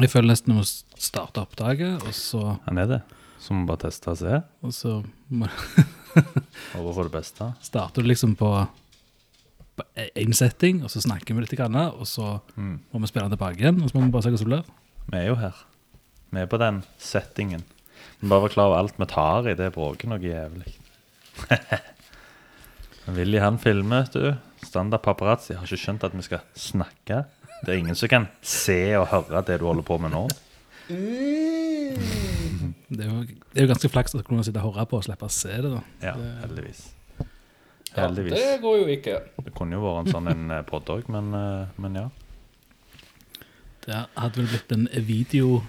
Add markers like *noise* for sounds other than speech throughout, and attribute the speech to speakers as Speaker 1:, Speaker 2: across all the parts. Speaker 1: Jeg føler nesten jeg må s- starte opptaket, og så,
Speaker 2: Han er det. Så må vi bare teste og se.
Speaker 1: og så må *laughs*
Speaker 2: Håper for det beste.
Speaker 1: starter du liksom på på én setting, og så snakker vi litt, grann, og så
Speaker 2: Mm.
Speaker 1: må vi spille den tilbake igjen. Og så må vi bare se hva som blir.
Speaker 2: Vi er jo her. Vi er på den settingen. Vi bare var klar over alt vi tar i, det bråker noe jævlig. *laughs* Men Willy han filmer, vet du. Standard paparazzi. Har ikke skjønt at vi skal snakke. Det er ingen som kan se og høre det du holder på med nå.
Speaker 1: Det er jo, det er jo ganske flaks at kunne sitte og høre på og slippe å se det. da.
Speaker 2: Ja, heldigvis.
Speaker 3: Ja,
Speaker 2: Heldigvis.
Speaker 3: det går jo ikke.
Speaker 2: Det kunne jo vært en sånn en eh, podd òg, men, eh, men ja.
Speaker 1: Det hadde vel blitt en video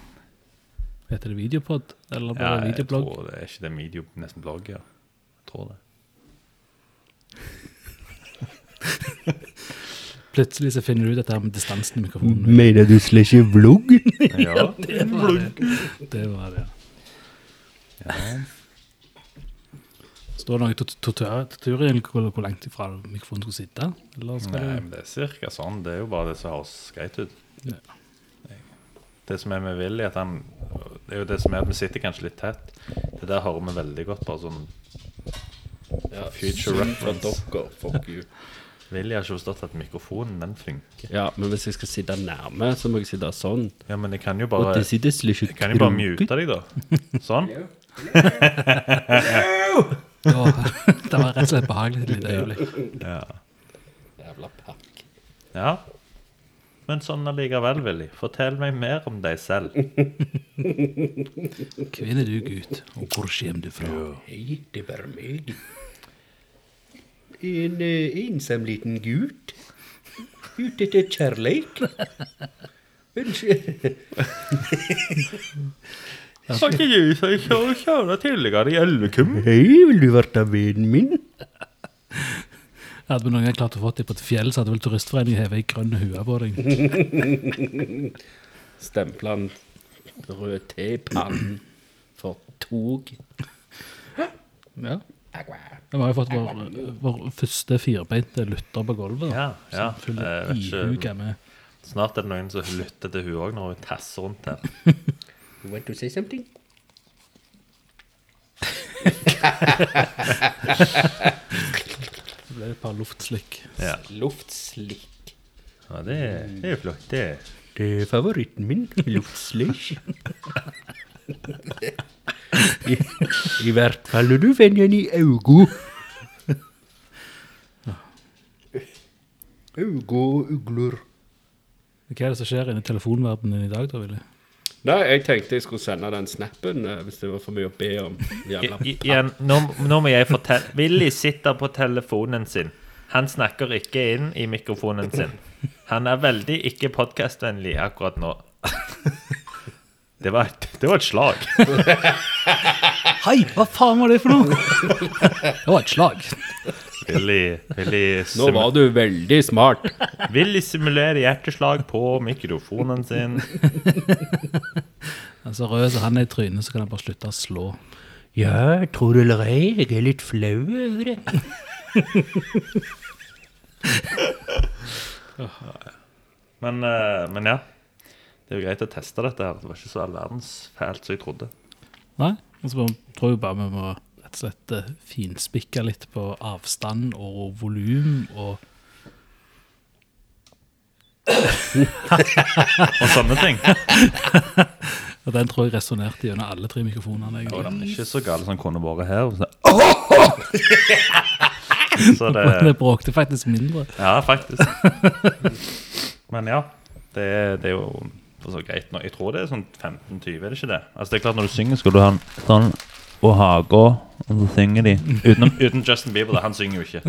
Speaker 1: Heter det videopod? Eller
Speaker 2: ja
Speaker 1: bare
Speaker 2: jeg
Speaker 1: videoblogg?
Speaker 2: tror det er ikke det video, nesten blogg, ja. Jeg tror det.
Speaker 1: Plutselig så finner du ut dette her med distansen i mikrofonen.
Speaker 4: Mener du slash vlogg?
Speaker 2: Ja.
Speaker 1: Det var det.
Speaker 2: Mm.
Speaker 1: Det var det.
Speaker 2: ja.
Speaker 1: Står det noe tut- tutor- tutorial hvor, hvor langt ifra mikrofonen skal sitte? Eller skal
Speaker 2: Nei,
Speaker 1: det
Speaker 2: men det er cirka sånn. Det er jo bare det som høres greit ut.
Speaker 1: Ja.
Speaker 2: Det som er med Willy, at han Det er jo det som er at vi sitter kanskje litt tett. Det der hører vi veldig godt. Bare sånn
Speaker 3: Ja,
Speaker 2: Future
Speaker 3: synd for
Speaker 2: reference.
Speaker 3: Dere, fuck you.
Speaker 2: Willy har ikke forstått at mikrofonen, den funker.
Speaker 4: *laughs* Ja, men hvis jeg skal sitte nærme, så må jeg sitte sånn.
Speaker 2: Ja, men jeg kan jo
Speaker 4: Og
Speaker 2: bare
Speaker 4: det sitter slash
Speaker 2: Jeg kan jo bare mute deg,
Speaker 4: *laughs*
Speaker 2: da. Sånn.
Speaker 1: Åh, Det var *laughs* rett og slett behagelig et lite øyeblikk.
Speaker 2: Ja.
Speaker 3: Jævla pakk.
Speaker 2: ja. Men sånn allikevel, Willy. Fortell meg mer om deg selv.
Speaker 1: Hvem er du, gutt? Og hvor kommer du fra?
Speaker 4: Hei, det er bare meg. En eh, ensom liten gutt. Ute etter kjærleik. Unnskyld.
Speaker 2: Har ikke du som kjører tidligere i Elvekum?
Speaker 4: Hei, vil du være vennen min?
Speaker 1: Hadde vi noen gang klart å få deg på et fjell, så hadde vel Turistforeningen hevet ei grønn hue på deg.
Speaker 4: Stempla han rød te i pannen for tog.
Speaker 1: Ja. Vi har jo fått vår, vår første firbeinte lytter på gulvet. da.
Speaker 2: Ja, ja.
Speaker 1: Full
Speaker 2: Jeg vet ikke.
Speaker 1: ihuga med
Speaker 2: Snart er det noen som lytter til hun òg når hun tasser rundt her.
Speaker 4: You want to say something?
Speaker 1: Det ble et par luftslikk.
Speaker 2: Ja.
Speaker 3: Luftslikk.
Speaker 2: Ja, det, det er jo flott, det.
Speaker 4: Det er favoritten min. Luftslish. I, I hvert fall når du finner den i augo. Augo og ugler.
Speaker 1: Hva er det som skjer inni telefonverdenen din i dag, da, Willy?
Speaker 3: Nei, jeg tenkte jeg skulle sende den snappen eh, hvis det var for mye å be om. Jævla
Speaker 2: I, igjen, nå, nå må jeg fortelle Willy sitter på telefonen sin. Han snakker ikke inn i mikrofonen sin. Han er veldig ikke podkastvennlig akkurat nå. Det var, et, det var et slag.
Speaker 1: Hei, hva faen var det for noe? Det var et slag.
Speaker 2: Willy, Willy,
Speaker 3: Nå
Speaker 2: simu
Speaker 3: var du veldig smart.
Speaker 2: Willy simulerer hjerteslag på mikrofonen sin.
Speaker 1: Altså, rød så han er i trynet, så kan han bare slutte å slå.
Speaker 4: Ja, tror du eller ei, jeg er litt flau over det.
Speaker 2: Men, eh, men ja. Det er jo greit å teste dette. her Det var ikke så all verdens fælt som jeg trodde.
Speaker 1: Nei, og så bare- tror jeg bare vi må rett og slett eh, finspikke litt på avstand og volum og
Speaker 2: Og sånne ting.
Speaker 1: og Den tror jeg resonnerte gjennom alle tre mikrofonene.
Speaker 2: Og
Speaker 1: egentlig.
Speaker 2: de er ikke så gale som kunne vært her.
Speaker 3: *laughs*
Speaker 2: og sånn, Så
Speaker 1: Men
Speaker 2: det
Speaker 1: det bråkte faktisk mindre.
Speaker 2: Ja, faktisk. *laughs* Men ja. Det, er- det er jo for så greit nå. Jeg tror det er sånn 15-20, er det ikke det? Altså det er klart Når du synger, skal du ha en sånn og haga, og så synger de. *laughs* Utenom, uten Justin Bieber, da. Han synger jo *laughs* ikke.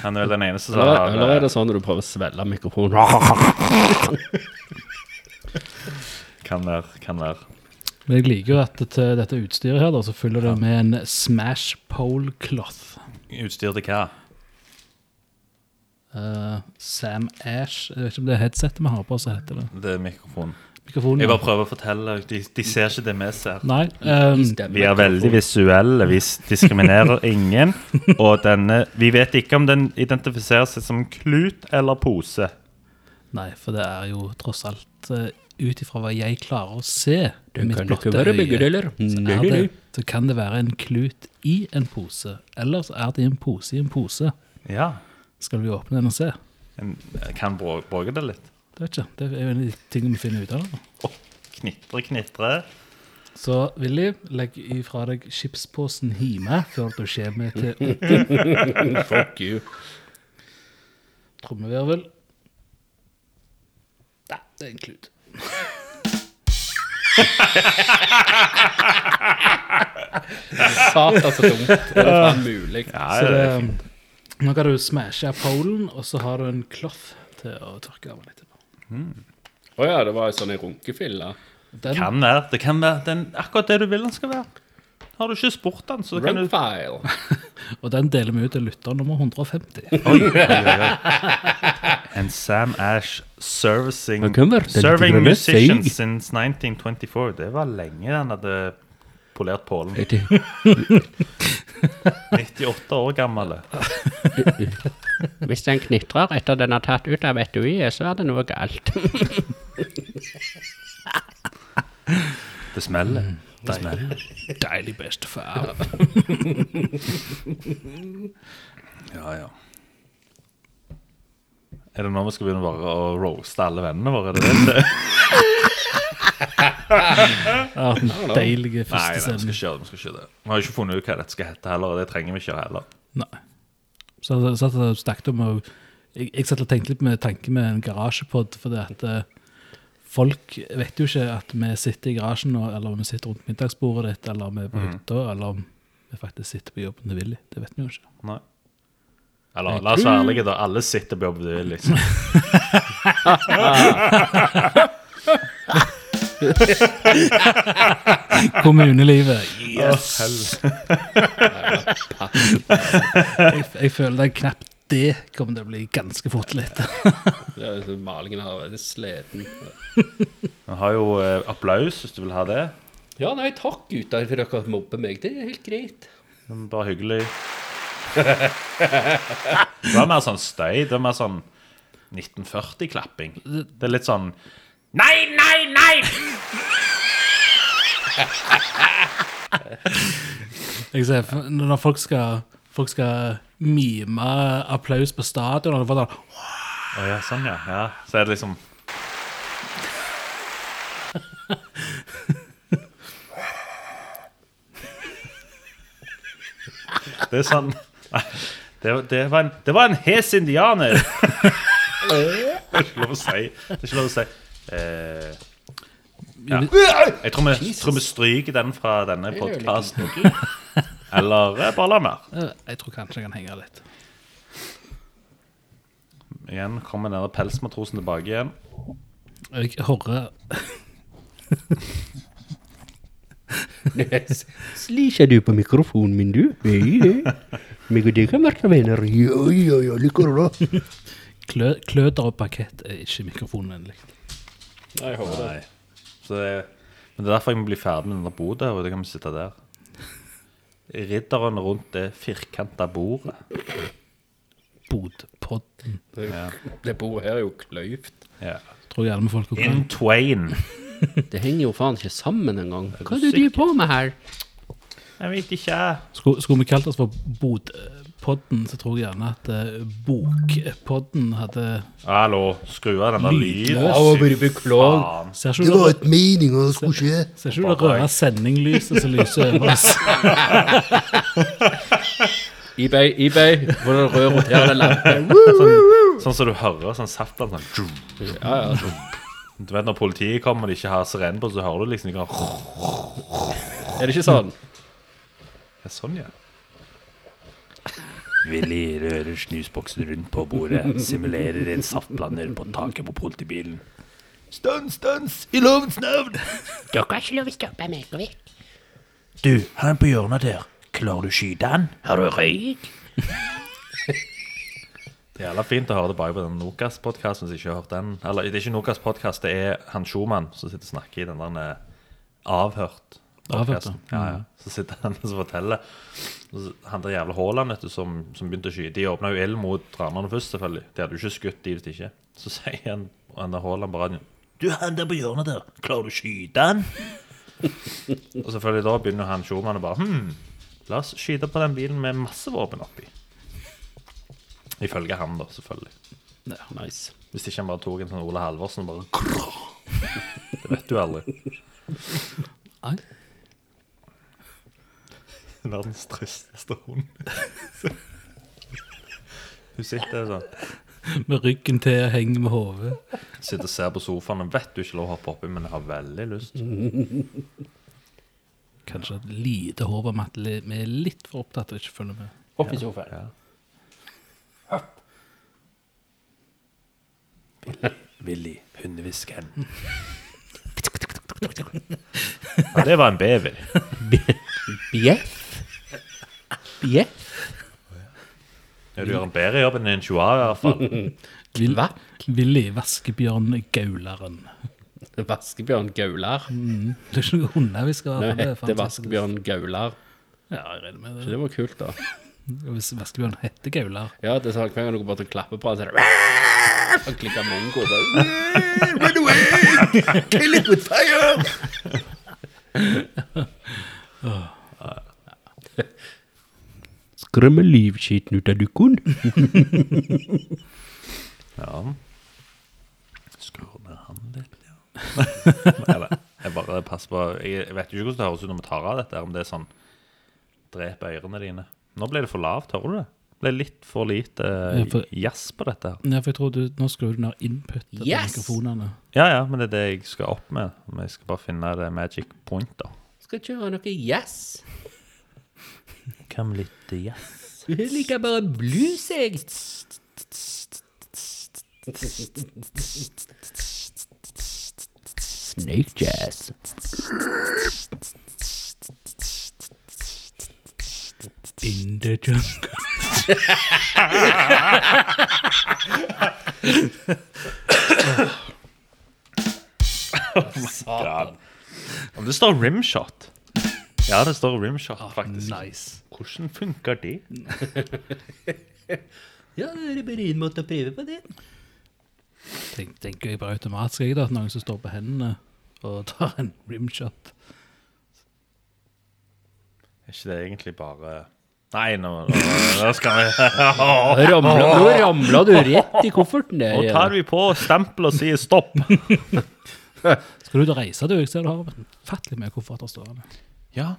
Speaker 2: Han er vel den eneste som
Speaker 3: Eller,
Speaker 2: har
Speaker 3: eller er
Speaker 2: eh,
Speaker 3: det sånn når du prøver å svelge mikrofonen?
Speaker 4: *laughs*
Speaker 2: eh, Kan være. Kan være.
Speaker 1: Men jeg liker jo at til dette utstyret her, da, så følger det med en smash pole cloth.
Speaker 2: Utstyr til hva?
Speaker 1: Eh, Sam Ash Jeg vet ikke om det er headsetet vi har på, så heter det.
Speaker 2: Det er mikrofonen.
Speaker 1: Mikrofonen.
Speaker 2: Jeg bare prøver å fortelle. De, de ser ikke det vi ser.
Speaker 1: Nei. ehm,
Speaker 2: Vi er veldig visuelle. Vi s- *laughs* diskriminerer ingen. Og denne Vi vet ikke om den identifiserer seg som klut eller pose.
Speaker 1: Nei, for det er jo tross alt eh, ut ifra hva jeg klarer å se
Speaker 4: Du
Speaker 1: med mitt
Speaker 4: kan
Speaker 1: blotte
Speaker 4: ikke være
Speaker 1: øye,
Speaker 4: begreller.
Speaker 1: så,
Speaker 4: Nei,
Speaker 1: er det,
Speaker 4: nei.
Speaker 1: så kan det være en klut i en pose, eller så er det en pose i en pose.
Speaker 2: Ja.
Speaker 1: Skal vi åpne den og se?
Speaker 2: En, jeg kan Brå- Brage det litt.
Speaker 1: Det vet ikke, det er jo en av de tingene vi finner ut av. da.
Speaker 2: Å, knitre, knitre.
Speaker 1: Så Willy, legg ifra deg chipsposen hjemme før du kommer til
Speaker 2: *laughs*
Speaker 3: Fuck you.
Speaker 1: trommevirvel. Nei, det er en klut.
Speaker 4: *laughs* Satan så dumt. Er det faen mulig?
Speaker 2: Ja,
Speaker 1: Så
Speaker 2: det
Speaker 1: det,
Speaker 2: er fint.
Speaker 1: nå kan du smashe polen, og så har du en kloff til å tørke av litt.
Speaker 3: Å ja, det var en sånn en runkefille.
Speaker 1: Den,
Speaker 2: kan være. Det kan være den, akkurat det du vil den skal være. Har du ikke spurt den, så kan du
Speaker 3: Runkfile.
Speaker 1: og den deler vi ut til lytter nummer 150.
Speaker 2: Oi, oi, oi, oi. And Sam Ash servicing,
Speaker 4: Han kan være den
Speaker 2: serving
Speaker 4: grønne
Speaker 2: musicians
Speaker 4: seg.
Speaker 2: since 1924. Det var lenge den hadde polert pålen.
Speaker 4: Jeg tenk-
Speaker 2: 98 år gammel.
Speaker 5: Hvis den knitrer etter den er tatt ut av etuiet, så er det noe galt.
Speaker 2: Det smeller. Det smeller.
Speaker 1: Deilig bestefar.
Speaker 2: Ja, ja. Er det nå vi skal begynne bare å roaste alle vennene våre? Er det *laughs* det?
Speaker 1: Ja, den deilige
Speaker 2: Nei, nei, vi
Speaker 1: første
Speaker 2: skal
Speaker 1: scenen.
Speaker 2: ikke gjøre det. Vi skal ikke gjøre det. Vi har jo ikke funnet ut hva dette skal hete heller, og det trenger vi ikke gjøre heller.
Speaker 1: Nei. Så jeg satt og snakket om og jeg, jeg satt og tenkte litt med tanke med en garasjepod, for det at eh, folk vet jo ikke at vi sitter i garasjen, og- eller om vi sitter rundt middagsbordet ditt, eller om vi er på hytta, eller om vi faktisk sitter på jobben til Willy. Det vet vi jo ikke.
Speaker 2: Nei. Eller la oss være ærlige, da. Alle sitter på jobb. det er Liksom.
Speaker 1: Kommunelivet.
Speaker 2: Yes.
Speaker 1: Jeg, jeg føler det er knapt det kommer til å bli ganske fort litt.
Speaker 3: Det er så Malingen her er sliten.
Speaker 2: Vi har jo eh, applaus, hvis du vil ha det.
Speaker 3: Ja, nei, takk gutter for dere mobber meg. Det er helt greit. *laughs*
Speaker 2: Men Sånn, Bare hyggelig. Det var mer sånn støy. Det var mer sånn 1940-klapping. Det er litt sånn Nei, nei, nei!
Speaker 1: Jeg ser, for- når folk skal, folk skal mime applaus på stadion, og det var sånn
Speaker 2: Å ja, sånn, ja. ja. Så er det liksom Det er sånn Nei, det, det, var en, det var en hes indianer! Det er ikke lov å si. Det er ikke lov å si. Eh, ja. Jeg tror vi, tror vi stryker den fra denne podkasten. Eller eh, bare la mer.
Speaker 1: eh, Jeg tror kanskje jeg kan henge litt.
Speaker 2: Igjen kommer denne pelsmatrosen tilbake igjen.
Speaker 1: Jeg hører
Speaker 5: Sliser du på mikrofonen min, du? Ja, ja. Meg og deg kan være venner. Ja, ja, ja, liker det.
Speaker 1: klø, Kløder og bakett er ikke mikrofonvennlig.
Speaker 3: Nei, jeg håper det.
Speaker 2: Nei. Så det, men det er derfor jeg må bli ferdig med denne bodet, og da kan vi sitte der. Ridderen rundt det firkanta bordet.
Speaker 1: Bodpodden.
Speaker 3: Det, det bordet her er jo kløyvt.
Speaker 2: Ja.
Speaker 1: Tror gjerne med folk
Speaker 2: In twain.
Speaker 4: Det henger jo faen ikke sammen engang.
Speaker 2: du
Speaker 4: Hva er det du driver på med her?
Speaker 2: Jeg vet ikke.
Speaker 1: Skulle, skulle vi kalt oss for Bodpodden, så tror jeg gjerne at eh, Bokpodden hadde
Speaker 2: Hallo, skru av den der lyden.
Speaker 3: Å, burde
Speaker 2: Fy
Speaker 3: beklage.
Speaker 2: faen.
Speaker 1: Ser ikke du det,
Speaker 6: et mening, og det skulle ikke
Speaker 1: ser ikke du det røde sendinglyset som
Speaker 6: *laughs*
Speaker 1: lyser over oss?
Speaker 3: eBay, eBay. Hvor det rød roterende lampe.
Speaker 2: Sånn som du hører sånn saftland sånn tjum.
Speaker 3: Ja, ja.
Speaker 2: Du vet når politiet kommer og de ikke har sirene på, så hører du liksom de går ja,
Speaker 3: Er det ikke sånn?
Speaker 2: Sånn, ja. Willy rører snusboksen rundt på bordet, simulerer en saftblander på taket på politibilen. Stans, stans, i lovens navn!
Speaker 5: Dere har ikke lov å stoppe meg. går vekk.
Speaker 2: Du, han på hjørnet der. Klarer du å skyte han?
Speaker 5: Har du røyk?
Speaker 2: Det er jævla fint å høre tilbake på den Nokas-podkasten hvis jeg ikke har hørt den. Eller, det er ikke Nokas-podkast, det er han Schumann som sitter og snakker i den der eh, avhørt.
Speaker 1: Avhørt,
Speaker 2: podcasten. ja, ja. Så sitter han og så forteller. Og så- Han der jævla Haaland vet du, som, som begynte å skyte. De åpna jo ild mot ranerne først, selvfølgelig. De hadde jo ikke skutt de hvis ikke. Så sier han, og han der Haaland på radioen Du, han der på hjørnet der, klarer du å skyte han? og selvfølgelig da begynner han tjormannen bare Hm, la oss skyte på den bilen med masse våpen oppi. Ifølge han, da, selvfølgelig.
Speaker 4: Nice.
Speaker 2: Hvis ikke han bare tok en sånn Ole Halvorsen og bare Det vet du aldri.
Speaker 1: Nei.
Speaker 2: *laughs* Verdens tristeste hund. *laughs* Hun sitter sånn
Speaker 1: Med ryggen til og henger med hodet.
Speaker 2: Sitter og ser på sofaen og vet du ikke lov å hoppe oppi, men jeg har veldig lyst.
Speaker 1: Kanskje et lite håp om at li- vi er litt for opptatt og ikke følger med.
Speaker 4: Opp i sofaen.
Speaker 2: Ja. Willy, hundehviskeren. Ja, det var en bever.
Speaker 4: Bjeff. Bjeff.
Speaker 2: Ja, du gjør en bedre jobb enn en chihuahua, i hvert fall.
Speaker 1: Vil,
Speaker 4: Hva?
Speaker 1: Willy Vaskebjørn Gaularen.
Speaker 3: Vaskebjørn Gaular.
Speaker 1: Det er ikke noen hunder vi skal
Speaker 3: Det
Speaker 1: ha. for
Speaker 3: heter
Speaker 1: Mm, er fantastisk.
Speaker 3: Vaskebjørn Gaular.
Speaker 1: Ja, jeg regner med
Speaker 3: Så
Speaker 1: det.
Speaker 3: det var kult, da.
Speaker 1: Hvis Vaskebjørn heter Gaular
Speaker 3: Ja, det sa jeg hver gang du går bort og klapper på han, så er det Og klikker mongo. bare.
Speaker 5: Skremme livskiten ut av dukken.
Speaker 2: Ja. Skrur ned han litt, ja. *laughs* Eller, jeg bare passer på Jeg vet jo ikke hvordan det høres ut når vi tar av dette, her, om det er sånn Drep ørene dine. Nå ble det for lavt, hører du det? Det ble litt for lite eh,
Speaker 1: Ja, for-
Speaker 2: jazz på dette. her.
Speaker 1: Nei, for jeg tror du, Nå skrur du ned inputet på
Speaker 4: Yes!
Speaker 1: mikrofonene.
Speaker 2: Ja, ja, men det er det jeg skal opp med. Men Jeg skal bare finne det magic point, da.
Speaker 4: Skal kjøre noe yes.
Speaker 2: Hvem litt jazz?
Speaker 4: Jeg liker bare blues, jeg.
Speaker 5: Snake jazz.
Speaker 1: In the jungle.
Speaker 2: Ja. Om det står rimshot. Ja, det står rimshot, faktisk.
Speaker 1: Nice.
Speaker 2: Hvordan funker det?
Speaker 4: Ja, det er bare en måte å prøve på det.
Speaker 1: Tenk, tenker jeg bare automatisk jeg da, at noen som står på hendene og tar en rimshot.
Speaker 2: Er ikke det egentlig bare Nei, nå, nå, nå skal vi *laughs*
Speaker 3: Ramler, nå ramler du rett i kofferten der.
Speaker 2: Nå tar vi på stempelet og sier stopp.
Speaker 1: Skal du ut og reise, du? Jeg ser du har ufattelig mye kofferter stående.
Speaker 2: Ja,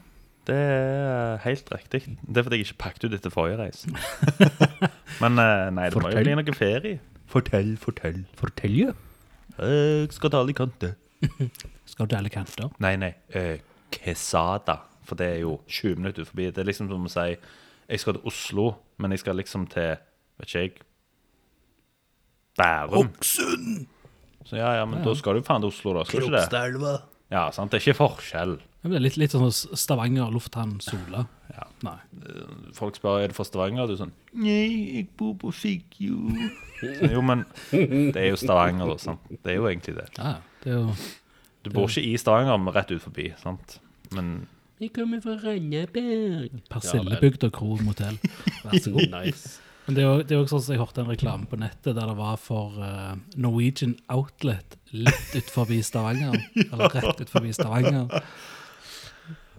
Speaker 2: det er helt riktig. Det er fordi jeg ikke pakket ut etter forrige *laughs* reise. Men eh, nei, det må jo
Speaker 5: Fortell.
Speaker 2: bli noe ferie. Fortell, fortell.
Speaker 5: Fortell, ja.
Speaker 2: Eh, Jeg skal til Alicante.
Speaker 1: Skal du til alle kanter?
Speaker 2: Nei, nei. eh, Quesada. For det er jo 20 minutter forbi. Det er liksom som å si jeg skal til Oslo, men jeg skal liksom til Vet ikke jeg Bærum. Så ja, ja, men da skal du faen til Oslo, da. Skal du ikke det? Ja, sant? Det er ikke forskjell.
Speaker 1: Det blir litt, litt sånn Stavanger, lufthavn, Sola.
Speaker 2: Ja.
Speaker 1: Nei.
Speaker 2: Folk spør er du fra Stavanger, og du er sånn Nei, jeg bor på Figgjo. Så, *laughs* Jo, men det er jo Stavanger, da. sant? Det er jo egentlig det.
Speaker 1: Ja, det er jo
Speaker 2: Du bor ikke i Stavanger, men rett ut forbi. sant? Men
Speaker 4: Jeg kommer fra Randaberg.
Speaker 1: Persillebygd og Krohn motell. Vær så god.
Speaker 3: Nice.
Speaker 1: Men det er jo- det er jo sånn som jeg hørte en reklame på nettet der det var for eh, Norwegian Outlet litt ut forbi Stavanger. Eller rett ut forbi Stavanger.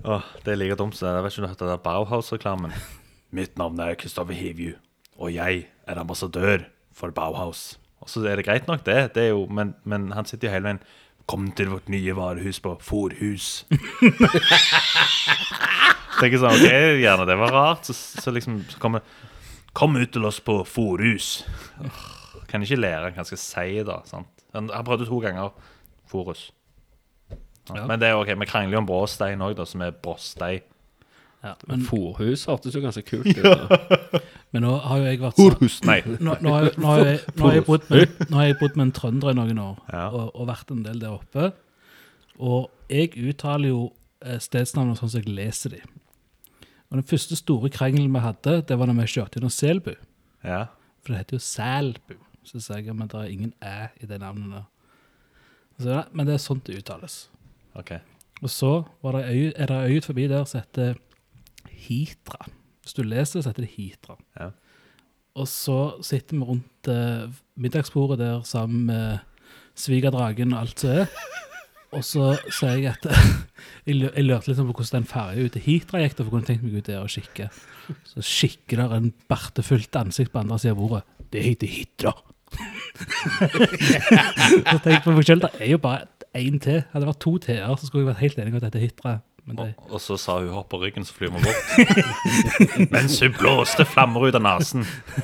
Speaker 2: Åh, det er like dumt som det. Jeg vet ikke om du hørte den der Bauhaus-reklamen. *laughs* Mitt navn er Kristoffer Hivju, og jeg er ambassadør for Bauhaus. Og så er det greit nok, det, det er jo, men, men han sitter jo hele veien Kom til vårt nye varehus på Forhus. *laughs* Tenker sånn, ok, gjerne det var rart. Så, så liksom så kommer Kom ut til oss på Forhus. Åh, Kan ikke lære hva han skal si, da. sant? Han, han prøvde to ganger. Forus. Ja. Men det er jo ok, vi krangler jo om bråstein òg, som er bråstei.
Speaker 1: Ja, men,
Speaker 3: Forhus hørtes jo ganske kult ut. da.
Speaker 1: men nå har jo jeg vært så,
Speaker 2: Nei.
Speaker 1: nå, nå, har, jeg- nå, har jeg, nå har jeg bodd med Nå har jeg bodd med en trønder i noen år,
Speaker 2: Ja.
Speaker 1: og, og vært en del der oppe. Og jeg uttaler jo eh, stedsnavnene sånn som jeg leser de. Og den første store krangelen vi hadde, det var når vi kjørte gjennom Selbu.
Speaker 2: Ja.
Speaker 1: For det heter jo Selbu. Så sier jeg at det er ingen æ i det navnet. der. Så, sier jeg, nei, men det er sånt det uttales.
Speaker 2: Ok.
Speaker 1: Og så var det øy, er det ei øy ut forbi der som heter Hitra. Hvis du leser, så heter det Hitra.
Speaker 2: Ja.
Speaker 1: Og så sitter vi rundt eh, middagsbordet der sammen med svigerdragen og alt som er. Og så sier jeg at *laughs* jeg lø- jeg lurte litt sånn på hvordan den ferja ut til Hitra gikk. da, for jeg kunne tenkt meg ut der og kikke. Så kikker der en bartefullt ansikt på andre siden av bordet. Det heter Hitra! *laughs* så tenkte jeg på meg selv, det er jo bare én til. Hadde det vært to t-er, så skulle jeg vært helt enig om at dette er Hitra. Men det,
Speaker 2: Og, og så sa hun hopp på ryggen, så flyr vi bort.
Speaker 4: *laughs*
Speaker 2: Mens hun blåste flammer ut av nesen.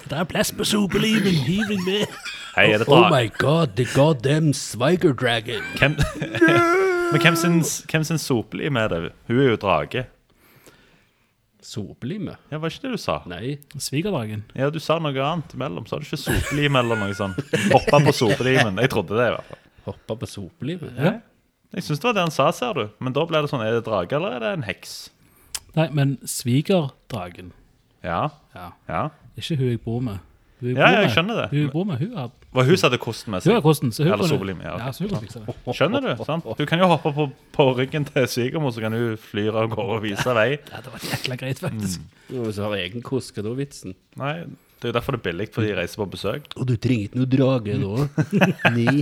Speaker 1: det er plass på sopelimen! Hiv deg med!
Speaker 2: Hei, er det
Speaker 4: Oh
Speaker 2: dra...
Speaker 4: my god, the goddamn Sviger Dragon.
Speaker 2: Hvem... *laughs* Men hvem sin, hvem sin sopelim er det? Hun er jo drage.
Speaker 4: Sopelime?
Speaker 2: Ja, var ikke det du sa?
Speaker 4: Nei.
Speaker 1: Svigerdragen.
Speaker 2: Ja, du sa noe annet imellom. Sa du ikke sopelim eller noe sånt? Hoppa på sopelimen. Jeg trodde det, i hvert fall.
Speaker 4: Hoppa på sopelime?
Speaker 2: Jeg syns det var det han sa, ser du. Men da ble det sånn Er det drage, eller er det en heks?
Speaker 1: Nei, men svigerdragen.
Speaker 2: Ja.
Speaker 1: Ja.
Speaker 2: ja.
Speaker 1: Ikke hun jeg bor med. Hun bor
Speaker 2: Ja, ja, jeg
Speaker 1: med-
Speaker 2: skjønner det.
Speaker 1: Hun jeg bor med, hun har,
Speaker 2: Var hun som hadde kosten med
Speaker 1: hun har
Speaker 2: seg?
Speaker 1: kosten. Så hun
Speaker 2: Eller
Speaker 1: kan-
Speaker 2: sovelim, ja, ok.
Speaker 1: så hun kan fikse det.
Speaker 2: Skjønner du? sant? Hun kan jo hoppe på, på ryggen til svigermor, så kan hun flyre av gårde og vise vei.
Speaker 1: Ja, det var jækla greit, faktisk.
Speaker 2: Mm.
Speaker 4: Og så har jeg egen kost, hva da er vitsen?
Speaker 2: Nei, det er jo derfor det er billig, for de reiser på besøk.
Speaker 5: Og du trenger ikke noe drage da.
Speaker 2: *laughs*
Speaker 5: Nei.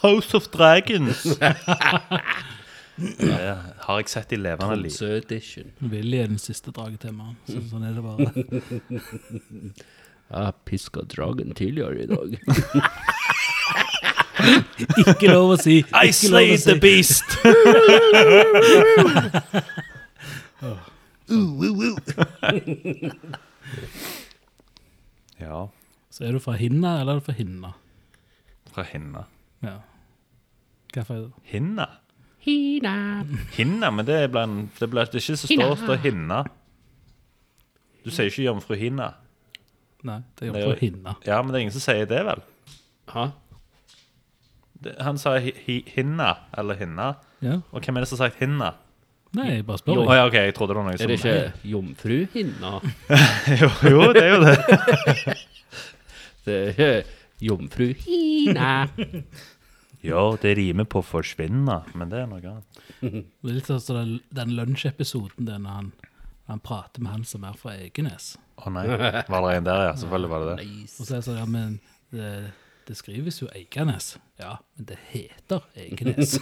Speaker 2: House of *laughs* Dragons! det har jeg sett i levende liv.
Speaker 4: Tromsø edition.
Speaker 1: Willy er den siste dragetemaen.
Speaker 2: Mm.
Speaker 1: Så, sånn er det bare.
Speaker 4: Jeg piska dragen tidligere i dag.
Speaker 1: Ikke lov å
Speaker 2: *laughs*
Speaker 1: si!
Speaker 2: I
Speaker 1: Ikke lov å
Speaker 2: slayed the
Speaker 1: si.
Speaker 2: *laughs* beast! ja,
Speaker 1: Så er du fra Hinna, eller er du fra Hinna?
Speaker 2: fra hinna.
Speaker 1: Ja. Hvorfor er det?
Speaker 2: Hinna?
Speaker 6: Hina.
Speaker 2: Hinna, men det er, blant, det er, blant, det er ikke så står står hinna. Du sier ikke jomfru hinna.
Speaker 1: Nei, det er
Speaker 2: Det er
Speaker 1: jo
Speaker 2: jo-
Speaker 1: fra Hinna.
Speaker 2: Ja, men det er ingen som sier det, vel?
Speaker 4: *laughs* Hæ?
Speaker 2: Det, han sa hi, hi, hinna, eller hinna.
Speaker 1: Ja.
Speaker 2: Og hvem er det som har sagt hinna?
Speaker 1: Nei, jeg bare
Speaker 2: Å
Speaker 1: spør.
Speaker 2: ja, OK, jeg trodde det var noe som
Speaker 4: Er det ikke jomfruhinna?
Speaker 2: jo, *laughs* jo, det er jo det.
Speaker 4: Det er ikke jomfruhinna.
Speaker 6: Hina.
Speaker 2: Ja, det rimer på forsvinne, men det er noe annet.
Speaker 1: Det er litt sånn som den, den lunsjepisoden der når han, han prater med han som er fra Egenes.
Speaker 2: Å nei. Var det en der, ja? Selvfølgelig var det det.
Speaker 1: Og så er det sånn, ja, men det, det skrives jo Eiganes. Ja, men det heter
Speaker 2: *laughs*
Speaker 1: Eiganes.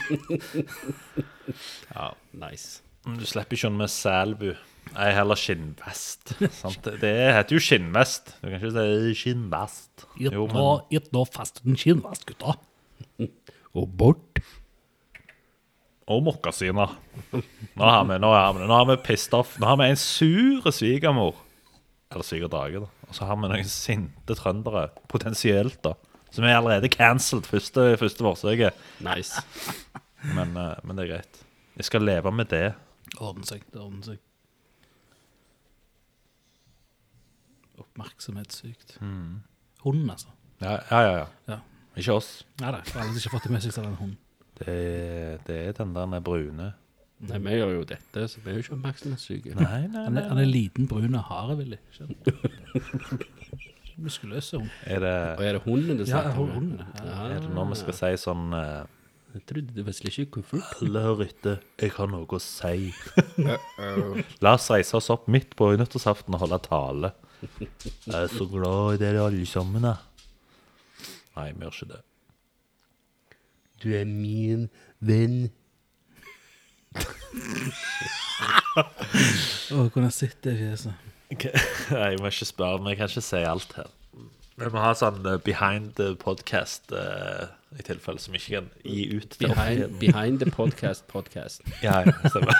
Speaker 4: Ja, nice.
Speaker 2: Men Du slipper ikke unna med Selbu. Nei, heller skinnvest. Sant? Det- Det heter jo skinnvest. Du kan ikke si skinnvest.
Speaker 1: Gitt
Speaker 2: Jo,
Speaker 1: nå,
Speaker 2: men
Speaker 1: gitt nå fast den kinnvast, gutta.
Speaker 5: Og bort.
Speaker 2: Og mokkasiner. Nå har vi, nå har vi, nå har vi pissed off. Nå har vi en sur svigermor. Eller syke drage, da. Og så har vi noen sinte trøndere, potensielt, da. Som er allerede cancelled første, første forsøket.
Speaker 4: Nice.
Speaker 2: Men, eh, men det er greit. Jeg skal leve med det.
Speaker 1: Ordner seg, det ordner seg. Oppmerksomhetssykt.
Speaker 2: Hmm.
Speaker 1: Hunden, altså.
Speaker 2: Ja, ja, ja.
Speaker 1: Ja.
Speaker 2: Ikke oss.
Speaker 1: Nei da, for alle som ikke har fått det med seg, så er det en hund.
Speaker 2: Det, det er den der brune
Speaker 4: Nei, vi gjør jo dette, så vi er jo ikke oppmerksomhetssyke.
Speaker 2: Nei, nei,
Speaker 1: Han er, han er liten, brun og harevillig. skjønner
Speaker 2: *laughs*
Speaker 1: du? Muskuløs er hun.
Speaker 2: Er det,
Speaker 4: Og er det hunden du
Speaker 1: Ja,
Speaker 4: snakker om?
Speaker 1: hunden. Ja.
Speaker 2: er det når vi skal si sånn eh,
Speaker 4: Jeg trodde det var slik ikke kuffert.
Speaker 2: Alle hører etter, jeg har noe å si. La oss reise oss opp midt på nyttårsaften og holde tale. Jeg er så glad i dere alle sammen, jeg. Nei, vi gjør ikke det.
Speaker 5: Du er min venn.
Speaker 1: Å, kunne jeg sett det fjeset.
Speaker 2: *laughs* Nei, jeg må ikke spørre, men jeg kan ikke si alt her. Vi må ha sånn eh, behind the podcast eh, i tilfelle som vi ikke kan gi ut til
Speaker 4: Behind,
Speaker 2: offentligheten.
Speaker 4: behind the podcast podcast.
Speaker 2: *laughs* Ja, ja, stemmer.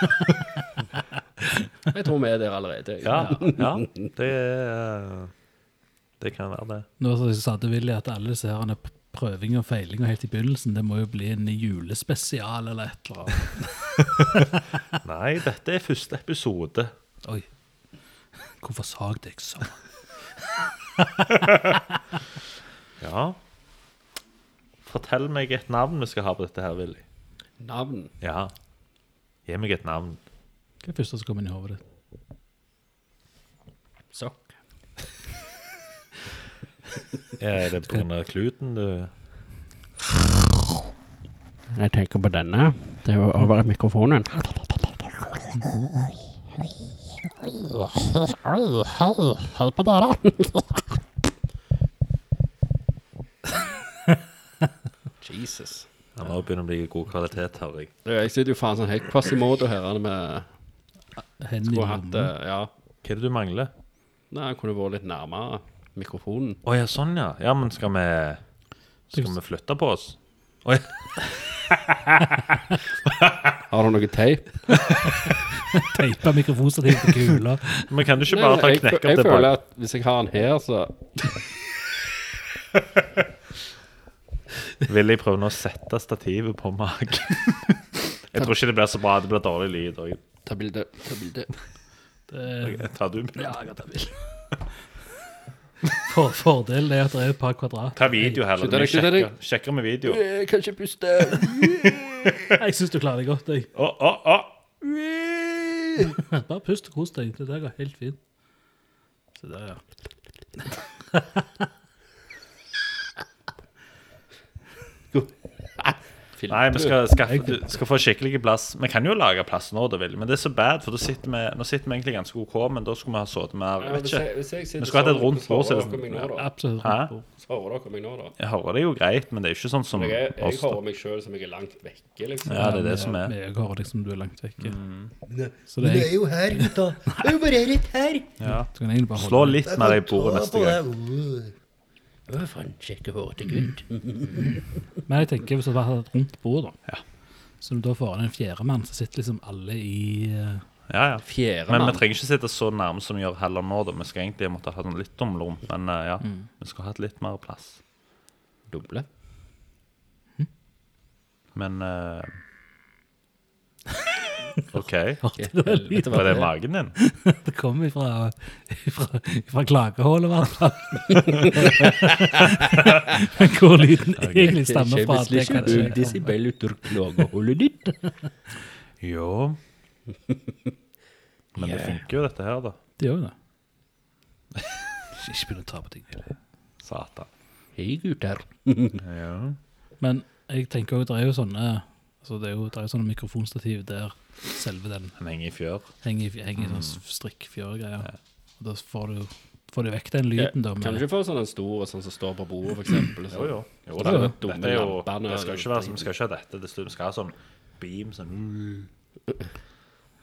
Speaker 4: Jeg tror vi er der allerede.
Speaker 2: Ja, ja. Det, er, eh, det kan være det.
Speaker 1: Nå så sa du, Willy, at alle disse her prøving og feiling og helt i begynnelsen, det må jo bli en julespesial eller et eller annet.
Speaker 2: Nei, dette er første episode.
Speaker 1: Oi. Hvorfor sagde jeg sånn?
Speaker 2: Ja. Fortell meg et navn vi skal ha på dette her, Willy.
Speaker 4: Navn.
Speaker 2: Ja. Gi meg et navn.
Speaker 1: Hva er det første som kommer inn i hodet ditt?
Speaker 4: Sokk.
Speaker 2: Er det pga. kluten du
Speaker 4: Jeg tenker på denne. Det er over mikrofonen.
Speaker 6: Oi, hei, hei på dere.
Speaker 4: Jesus.
Speaker 2: Ja, Nå begynner det å bli god kvalitet, hører jeg.
Speaker 4: Ja, Jeg sitter jo faen sånn helt Quasimodo her han med
Speaker 1: Hendene i
Speaker 4: Skulle hatt
Speaker 1: lommen.
Speaker 4: eh, Ja.
Speaker 2: Hva er det du mangler?
Speaker 4: Nei, han kunne vært litt nærmere mikrofonen.
Speaker 2: Å ja, sånn ja. Ja, men skal vi Skal vi flytte på oss?
Speaker 4: Har du noe teip?
Speaker 1: Teipa mikrofonstativ på kula.
Speaker 2: Men kan du ikke
Speaker 4: Nei,
Speaker 2: bare ta
Speaker 4: jeg, jeg,
Speaker 2: knekke opp det
Speaker 4: føler
Speaker 2: bak?
Speaker 4: at hvis jeg har han her, så
Speaker 2: Vil jeg prøve nå å sette stativet på
Speaker 4: *laughs*
Speaker 2: magen? jeg tror ikke det blir så bra. Det blir dårlig lyd. og jeg-
Speaker 4: Ta bilde. Ta bilde.
Speaker 2: Jeg tar du med.
Speaker 1: Ja, jeg kan ta bil. For, fordelen er at det er et par
Speaker 2: *laughs*
Speaker 1: kvadrat.
Speaker 2: Ta video heller.
Speaker 4: Slutt deg,
Speaker 2: Vi
Speaker 4: slutt deg.
Speaker 2: sjekker- Sjekker med video. Å,
Speaker 4: Jeg kan ikke puste.
Speaker 1: Jeg syns du klarer det godt. jeg.
Speaker 2: å, å!
Speaker 1: Bare pust og kos deg. Det der går helt fint. Se der, ja.
Speaker 2: Nei, vi skal, skaffe, du skal få skikkelig plass. Vi kan jo lage plass når du vil, men det er så bad, for da sitter vi, nå sitter vi egentlig ganske OK, men da skulle vi ha sittet mer. Jeg vet ikke.
Speaker 4: Vi
Speaker 2: skulle hatt et rundt bord, så er det sånn-
Speaker 1: Absolutt.
Speaker 2: Hæ?
Speaker 4: Så hører dere meg nå, da.
Speaker 2: Jeg hører det jo greit, men det er jo ikke sånn som
Speaker 4: Jeg, jeg,
Speaker 2: oss. da.
Speaker 4: hører meg sjøl som jeg er langt vekke, liksom.
Speaker 2: Ja, det er det som
Speaker 1: Men
Speaker 2: er.
Speaker 1: Jeg hører liksom du er langt vekke. Så
Speaker 5: Men
Speaker 1: det
Speaker 5: det
Speaker 1: er,
Speaker 5: er jo her, gutta. Det er jo bare rett her.
Speaker 2: Ja.
Speaker 1: du kan egentlig bare
Speaker 2: Slå
Speaker 1: holde
Speaker 2: litt med deg i bordet
Speaker 5: Ta
Speaker 2: neste
Speaker 5: på
Speaker 2: gang.
Speaker 5: deg.
Speaker 4: Å, faen, kjekke hårete gutt.
Speaker 1: Men jeg tenker hvis det hadde vært et rundt bord, da. Så du da får inn en fjerdemann, så sitter liksom alle i eh, *laughs*
Speaker 2: Ja, ja. Men vi
Speaker 4: Fjerdemann.
Speaker 2: trenger ikke sitte så nærme som vi gjør heller nå. da. Vi skal egentlig måtte ha sånn litt omrom, men eh, ja, vi skal ha hatt litt mer plass.
Speaker 4: Doble.
Speaker 2: Men eh, OK.
Speaker 1: *laughs* Det
Speaker 2: Var det magen din?
Speaker 1: kom ifra, ifra, ifra klagehullet, i hvert *laughs* fall. Hvor lyden egentlig stammer fra, det kan ikke jeg
Speaker 4: Desibel ut klageholdet ditt.
Speaker 2: Jo. *laughs* Men det funker jo, dette her, da.
Speaker 1: Det gjør jo det. Ikke begynn å ta på ting.
Speaker 2: Satan.
Speaker 4: Hei, gutter.
Speaker 2: Ja.
Speaker 1: Men jeg tenker jo, det er jo sånne altså det er jo det er jo sånne mikrofonstativ der selve den
Speaker 2: Han henger i fjør.
Speaker 1: henger i henger i sånn strikkfjørgreier. Og da får du, får du vekk den lyden, da.
Speaker 4: Kan du
Speaker 1: Med,
Speaker 4: ikke få sånn en stor sånn som står på bordet, for eksempel?
Speaker 2: Jo, jo. jo
Speaker 4: da.
Speaker 2: da. Dette er jo,
Speaker 4: Dumme
Speaker 2: det skal jo ikke være, vi skal ikke ha dette. Det skal- vi skal ha sånn beam, sånn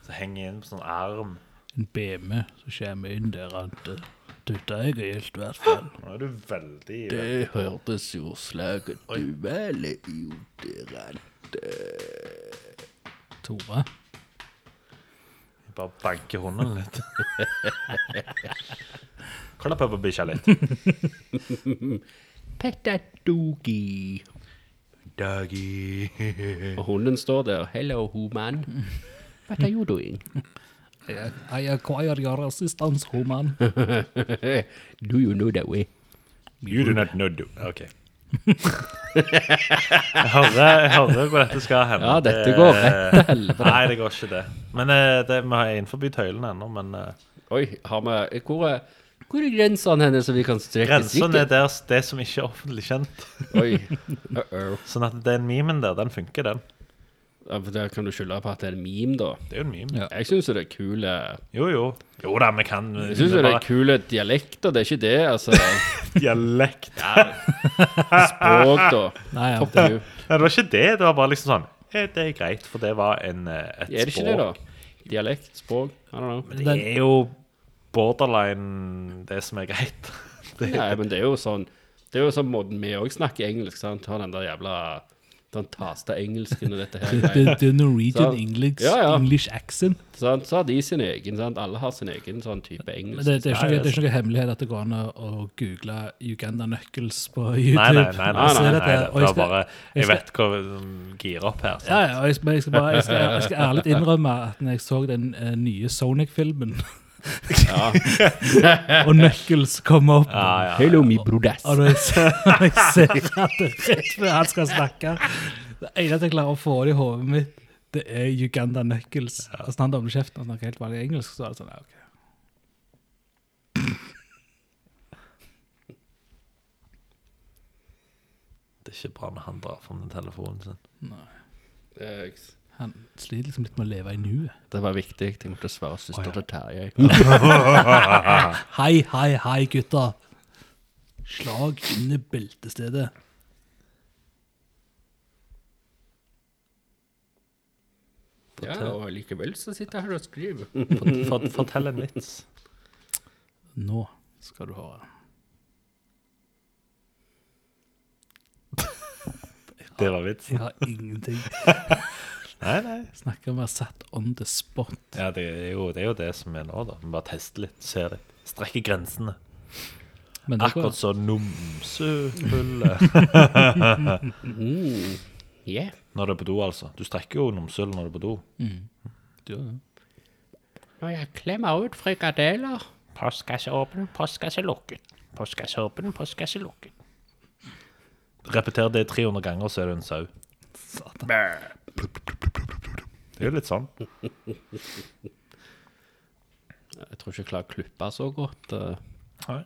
Speaker 2: Så henger inn på sånn arm.
Speaker 1: en BM som kommer inn der at eh, Dette er gøyelt, i hvert fall.
Speaker 2: Nå er du veldig
Speaker 4: Det hørtes jo slaget duelle ut i rand.
Speaker 1: Tore.
Speaker 2: Bare banke hunden *laughs* litt. Klapp på bikkja litt.
Speaker 4: Petadogi.
Speaker 2: Doggy.
Speaker 4: *laughs* Og hunden står der. Hello, human. What are you doing?
Speaker 1: I I acquire your assistance, Roman.
Speaker 4: *laughs* Do you know that way?
Speaker 2: You do not know do. *laughs* OK. jeg, hører, jeg hører hvor dette skal hen.
Speaker 4: Ja, dette går rett til helvete.
Speaker 2: Nei, det går ikke det. Men eh, det, vi er innenfor tøylene ennå, men eh,
Speaker 4: Oi, har vi Hvor er, hvor er grensene henne som vi kan strekke
Speaker 2: grensen er der det som ikke er offentlig kjent.
Speaker 4: Oi. Uh-oh.
Speaker 2: Sånn at den memen der, den funker, den.
Speaker 4: Ja, for Der kan du skylde på at det er en meme, da.
Speaker 2: Det er jo en meme.
Speaker 1: Ja.
Speaker 4: Jeg syns det er kule
Speaker 2: Jo, jo. Jo da, vi kan
Speaker 4: Jeg syns det er kule dialekter, det er ikke det, altså.
Speaker 2: *laughs* dialekt.
Speaker 4: Språk, da.
Speaker 1: Nei, ja,
Speaker 4: Fuck you.
Speaker 2: Nei, det var ikke det. Det var bare liksom sånn eh, Det er greit, for det var en, eh, et
Speaker 4: Er det ikke det, da? Dialekt, språk, I don't know.
Speaker 2: Det er jo borderline det som er greit. *laughs* Det,
Speaker 4: Nei, men det er jo sånn Det er jo sånn måten vi òg snakker engelsk, sant. Har den der jævla Den tasta engelsken og dette
Speaker 1: *laughs*
Speaker 4: her.
Speaker 1: det, det er Norwegian
Speaker 4: Så-
Speaker 1: English,
Speaker 4: Ja, ja.
Speaker 1: English accent.
Speaker 4: sant? Så har de sin egen, sant. Alle har sin egen sånn type engelsk.
Speaker 1: Men det, det, er ikke, noe- det
Speaker 2: altså.
Speaker 1: er ikke noe hemmelighet at det går an å, å google Uganda Knuckles på YouTube.
Speaker 2: Nei, nei, nei. nei,
Speaker 1: Så er
Speaker 2: nei,
Speaker 1: det
Speaker 2: nei,
Speaker 1: at jeg-
Speaker 2: det
Speaker 1: og jeg
Speaker 2: var
Speaker 1: skal-
Speaker 2: bare
Speaker 1: jeg
Speaker 2: Jeg
Speaker 1: skal-
Speaker 2: vet hva som girer opp
Speaker 1: Ja,
Speaker 2: her. Så.
Speaker 1: ja, og jeg, men jeg skal, bare, jeg, skal, jeg skal ærlig innrømme at når jeg så den eh, nye Sonic-filmen *laughs* Og Knuckles kommer opp,
Speaker 4: Hello, me brodas.
Speaker 1: og når jeg ser, *laughs* når jeg ser at det er rett før han skal snakke Det eneste jeg klarer å få det i hodet mitt, det er Uganda Knuckles. Og så når han dobbeltkjeften og snakker helt vanlig engelsk, så er det sånn ja, OK.
Speaker 2: Det er ikke bra når han drar fram den telefonen sin.
Speaker 4: Det
Speaker 1: Han sliter liksom litt med å leve i nuet.
Speaker 4: var viktig. Jeg måtte svare søster til Terje.
Speaker 1: Hei, hei, hei, gutta. Slag under beltestedet.
Speaker 4: Ja,
Speaker 1: Fortell.
Speaker 4: og likevel så sitter jeg her og skriver.
Speaker 2: Fort- fort- Fortell en vits.
Speaker 1: Nå skal du høre.
Speaker 2: Det var vits.
Speaker 1: Jeg har ingenting.
Speaker 2: *laughs* Nei, nei.
Speaker 1: Snakker om å være satt on the spot.
Speaker 2: Ja, det er, jo, det er jo det som er nå, da. Vi bare tester litt, ser litt. Strekker grensene.
Speaker 1: Men det går.
Speaker 2: Akkurat så *laughs* nomsehullet
Speaker 4: Yeah.
Speaker 2: Når du er på do, altså. Du strekker jo nomsehullet når du er på do.
Speaker 1: Du gjør det.
Speaker 4: Når jeg klemmer ut frikadeller
Speaker 6: Postkasse åpen, postkasse lukket. Postkasse åpen, postkasse lukket.
Speaker 2: Repeter det 300 ganger, så er du en sau. Det er jo litt sånn.
Speaker 4: Jeg tror ikke jeg klarer å klippe så godt. eh.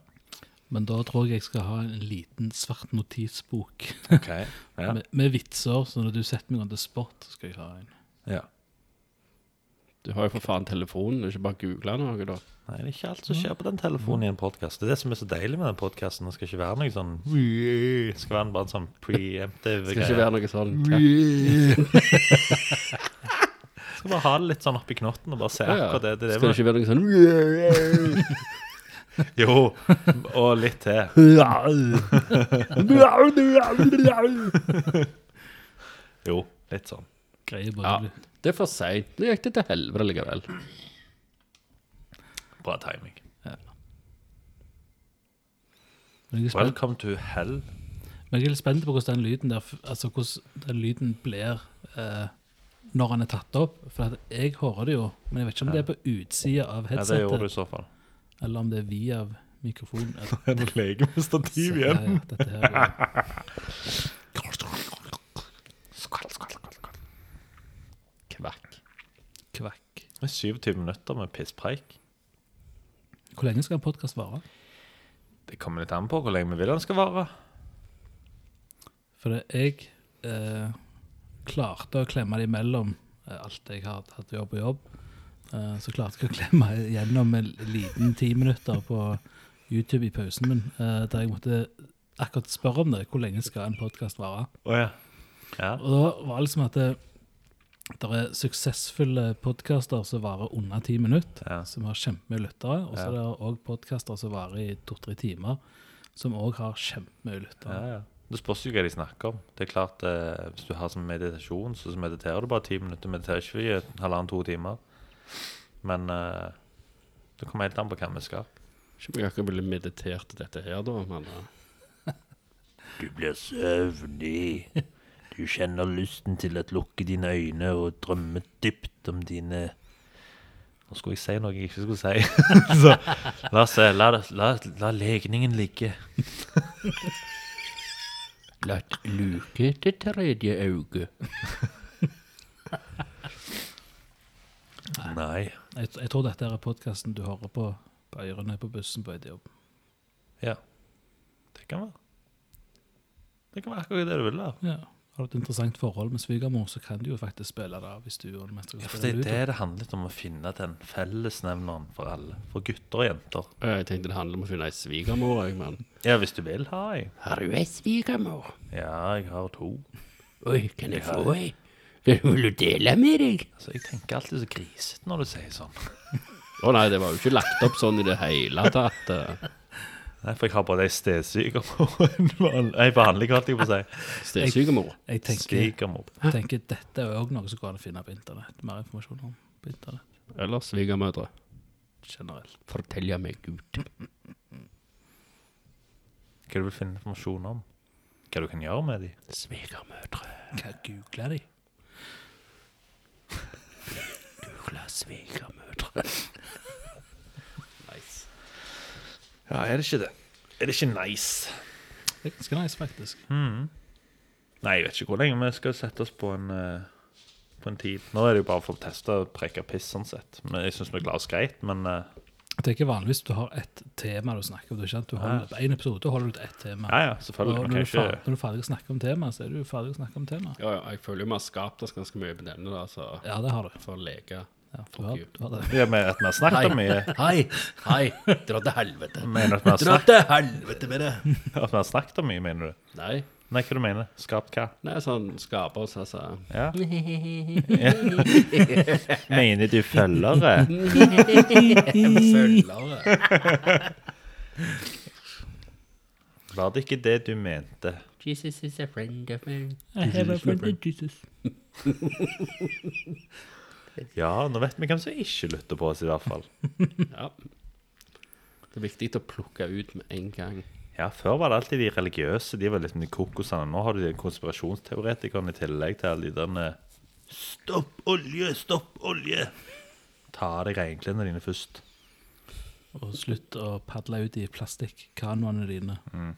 Speaker 1: Men da tror jeg jeg skal ha en liten svart notisbok
Speaker 2: Ok, ja.
Speaker 1: med, med vitser, så når du setter meg on the spot, så skal jeg ha en.
Speaker 2: ja.
Speaker 4: Du har jo for faen telefonen, det er ikke bare å google noe, da.
Speaker 2: Nei, det er ikke alt som skjer på den telefonen i en podkast. Det er det som er så deilig med den podkasten. Det skal ikke være noe sånn Det skal være en bare en sånn preemptive
Speaker 4: Det skal
Speaker 2: greie.
Speaker 4: ikke være noe sånn
Speaker 2: Skal bare ha det litt sånn oppi knotten og bare se
Speaker 4: ja.
Speaker 2: *laughs* akkurat det. det, er
Speaker 4: Skal
Speaker 2: det
Speaker 4: det ikke være noe sånn
Speaker 2: vi-
Speaker 4: *laughs*
Speaker 2: Jo, og litt til. Jo, litt sånn.
Speaker 1: Greier
Speaker 4: Ja,
Speaker 1: bare litt.
Speaker 4: det er for seint. Nå gikk det til helvete likevel.
Speaker 2: Bra timing.
Speaker 1: Men jeg er spent-
Speaker 2: Welcome to hell.
Speaker 1: men jeg er litt spent på hvordan den lyden der, f- altså hvordan den lyden blir eh, når han er tatt opp. For at jeg hører det jo, men jeg vet ikke om det er på utsida av
Speaker 2: Ja, det gjorde du i
Speaker 1: headsetet,
Speaker 2: så fall.
Speaker 1: eller om det er via
Speaker 2: *laughs*
Speaker 1: mikrofonen. eller-
Speaker 2: En legemestativ
Speaker 1: Så, ja, ja, dette her er-
Speaker 4: Kvakk.
Speaker 1: Kvakk.
Speaker 2: 27 minutter med pisspreik.
Speaker 1: Hvor lenge skal en podkast vare?
Speaker 2: Det kommer litt an på hvor lenge vi vil den skal vare.
Speaker 1: For det, jeg eh, klarte å klemme det imellom eh, alt jeg har hatt jobb og jobb. Eh, så klarte jeg å klemme gjennom en liten ti minutter på YouTube i pausen min, eh, der jeg måtte akkurat spørre om det. Hvor lenge skal en podkast vare?
Speaker 2: Oh, ja. Ja.
Speaker 1: Og da var det liksom at det, der er suksessfulle podkaster som varer under ti minutter,
Speaker 2: Ja.
Speaker 1: som har kjempemye lyttere. Og så
Speaker 2: Ja.
Speaker 1: er det òg podkaster som varer i to-tre timer, som òg har kjempemye lyttere.
Speaker 2: Ja, ja. Det spørs jo hva de snakker om. Det er klart, eh, Hvis du har som meditasjon, så mediterer du bare ti minutter. Du mediterer ikke i halvannen-to timer. Men eh, det kommer helt an på hvem vi skal.
Speaker 4: Ikke om jeg akkurat ville meditert til dette her, da. Men eh,
Speaker 7: Du blir søvnig. Du kjenner lysten til å lukke dine øyne og drømme dypt om dine
Speaker 2: Nå skulle jeg si noe jeg ikke skulle si. *laughs* så la oss se. La, det- la, la legningen ligge.
Speaker 4: La luke til tredje auge.
Speaker 2: Nei.
Speaker 1: Jeg, jeg tror dette er podkasten du hører på på ørene på bussen på vei til jobb.
Speaker 2: Ja. Det kan være. Det kan være akkurat det du vil. da.
Speaker 1: Ja. Har du et interessant forhold med svigermor, så kan du jo faktisk spille det av i stuen. mens du
Speaker 2: Ja, for
Speaker 1: spiller ludo.
Speaker 2: det er det det handler litt om å finne den fellesnevneren for alle. For gutter og jenter.
Speaker 4: eh, Jeg tenkte det handler om å finne ei svigermor, jeg, men
Speaker 2: Ja, hvis du vil ha ei.
Speaker 8: Har du ei svigermor?
Speaker 2: Ja, jeg har to.
Speaker 8: Oi, kan jeg få ei? Vil du dele med deg?
Speaker 2: Altså, Jeg tenker alltid så grisete når du sier sånn.
Speaker 4: Å nei, det var jo ikke lagt opp sånn i det hele tatt. eh.
Speaker 2: *laughs* Nei, For jeg har bare ei stesyker på en vanlig Ei vanlig, holdt jeg på å *laughs* si.
Speaker 4: Stedsvigermor.
Speaker 1: Jeg tenker,
Speaker 2: Stigermor.
Speaker 1: tenker dette er òg noe som går an å finne på internett. Mer informasjon om på internett
Speaker 4: Eller svigermødre.
Speaker 1: generelt.
Speaker 4: Fortell meg, Gud.
Speaker 2: Hva du vil finne informasjon om? Hva du kan gjøre med de?
Speaker 4: Svigermødre.
Speaker 1: Hva googler de?
Speaker 4: Googla svigermødre.
Speaker 2: Ja, er det ikke det? Er det ikke nice?
Speaker 1: Det er ganske nice, faktisk.
Speaker 2: Mm. Nei, jeg vet ikke hvor lenge vi skal sette oss på en eh, på en tid. Nå er det jo bare for å teste og preke piss, sånn sett. Men Jeg syns vi klarer oss greit, men eh,
Speaker 1: Det er ikke vanligvis du har ett tema du snakker om. Du, ikke sant? du holder, på én episode holder du til ett tema.
Speaker 2: ja ja,
Speaker 1: Og
Speaker 2: selvfølgelig.
Speaker 1: når
Speaker 2: Vi
Speaker 1: du,
Speaker 2: Ah.
Speaker 1: er
Speaker 2: kan ikke
Speaker 1: ferdig, når du er ferdig å snakke om temaet, så er du ferdig å snakke om temaet.
Speaker 4: Ja, ja, jeg føler jo vi har skapt oss ganske mye på denne, da, så
Speaker 1: Ja, det har du.
Speaker 4: for å leke.
Speaker 1: Ja, du, har, du har det.
Speaker 2: ja, men at vi har snakket om mye. *laughs*
Speaker 8: Hei, hei, dra til helvete.
Speaker 2: Mener du at vi har
Speaker 8: Dra
Speaker 2: snakket,
Speaker 8: til helvete med det.
Speaker 2: at vi har snakket om mye, mener du?
Speaker 4: Nei,
Speaker 2: Nei, hva du mener Skapt hva?
Speaker 4: Nei, sånn skaper oss, altså.
Speaker 2: Ja. *laughs* Mener du følgere?
Speaker 4: Følgere.
Speaker 2: Var det ikke det du mente?
Speaker 9: Jesus is a friend of mine.
Speaker 2: Ja, nå vet vi hvem som ikke lytter på oss, i hvert fall.
Speaker 4: Ja. Det er viktig å plukke ut med en gang.
Speaker 2: Ja, Før var det alltid de religiøse. De var liksom de kokosene. Nå har du de konspirasjonsteoretikerne i tillegg til alle de der med Stopp olje! Stopp olje! Ta av deg regnklærne dine først.
Speaker 1: Og slutt å padle ut i plastikkanoene dine.
Speaker 2: Mm.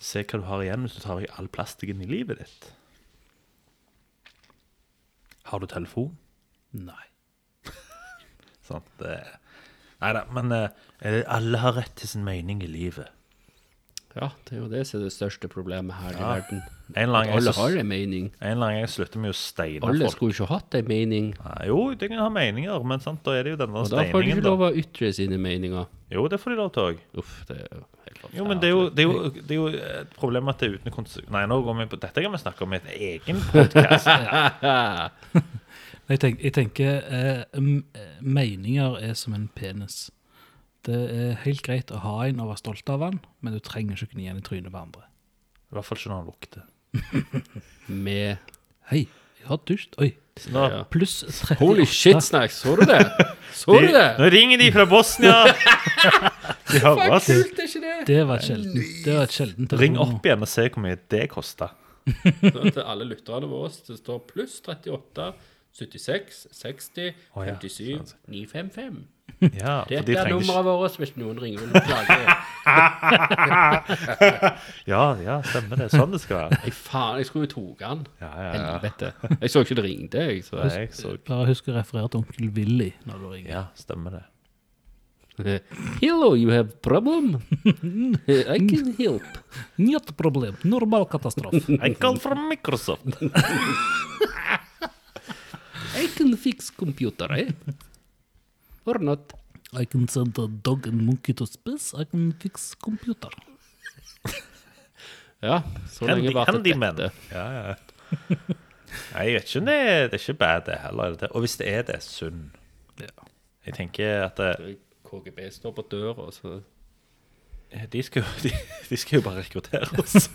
Speaker 2: Se hva du har igjen hvis du tar vekk all plastikken i livet ditt. Har du telefon? *laughs*
Speaker 1: Nei.
Speaker 2: Sånn, det... Nei da, men eh, eh, alle har rett til sin mening i livet.
Speaker 4: Ja, det er jo det som er det største problemet her i verden.
Speaker 2: En eller annen gang
Speaker 4: Alle
Speaker 2: så-
Speaker 4: har en mening.
Speaker 2: En eller annen gang slutter vi å steine
Speaker 4: Alle
Speaker 2: folk.
Speaker 4: skulle ikke hatt en mening.
Speaker 2: Nei, jo, de kan ha meninger, men sant, da er det jo denne
Speaker 4: Og da får
Speaker 2: Altså,
Speaker 4: de
Speaker 2: steiningen.
Speaker 4: ikke
Speaker 2: Da.
Speaker 4: lov å ytre sine meninger.
Speaker 2: Jo, det får de lov til òg.
Speaker 4: Uff, det er jo helt
Speaker 2: Jo, men det er jo, det er jo, det er jo et problem at det er uten konsekvenser Nei, nå går vi på, dette kan vi snakke om i en egen podkast.
Speaker 4: *laughs*
Speaker 1: Jeg, tenk, jeg tenker eh, m- eh, meninger er som en penis. Det er helt greit å ha en og være stolt av den, men du trenger ikke å gni den i trynet på andre.
Speaker 2: I hvert fall ikke når han lukter.
Speaker 4: Med
Speaker 1: Hei, jeg har dusj. Oi.
Speaker 2: Så nå,
Speaker 4: Ja.
Speaker 1: Pluss 38.
Speaker 4: Holy shit, Snacks! Så du det? Så du det?
Speaker 2: nå ringer de fra Bosnia! *laughs* De hører oss.
Speaker 4: Det er ikke det.
Speaker 1: Det var et sjelden. Det var et sjelden
Speaker 2: Ring
Speaker 1: telefonnummer.
Speaker 2: opp igjen og se hvor mye det koster.
Speaker 4: Så til alle lytterne våre det står pluss 38, 76, 60,
Speaker 2: Å ja,
Speaker 4: 57, 955.
Speaker 2: Ja, for de
Speaker 4: Dette er
Speaker 2: trenger ikke
Speaker 4: nummeret vårt hvis noen ringer og
Speaker 2: *laughs*
Speaker 4: klager.
Speaker 2: Ja, ja, stemmer det. Sånn det skal være.
Speaker 4: Nei, faen, jeg skulle jo tatt den.
Speaker 2: Ja, ja, ja.
Speaker 4: Helvete. Jeg så ikke det ringte, jeg. Så
Speaker 2: Nei, jeg så
Speaker 1: Bare husk å referere til onkel Willy når du ringer.
Speaker 2: Ja, stemmer det.
Speaker 4: jeg Hello, Eh, you have
Speaker 2: *laughs*
Speaker 4: problem? Eh, I can help.
Speaker 1: Нет problem. Normal katastrofe.
Speaker 2: I call from Microsoft.
Speaker 4: I can fix computer, eh? Or not.
Speaker 1: I can send a dog and monkey to space. I can fix computer.
Speaker 4: Ja, så
Speaker 2: Handy,
Speaker 4: lenge varte det.
Speaker 2: handyman. Ja, ja. Nei, jeg vet ikke om det er Det er ikke bad, det heller. er det det? Og hvis det er det, sunn. Jeg tenker at eh, det,
Speaker 4: KGB står på døra, så
Speaker 2: De skal, jo- *laughs* de, de skal jo bare rekruttere oss. *laughs*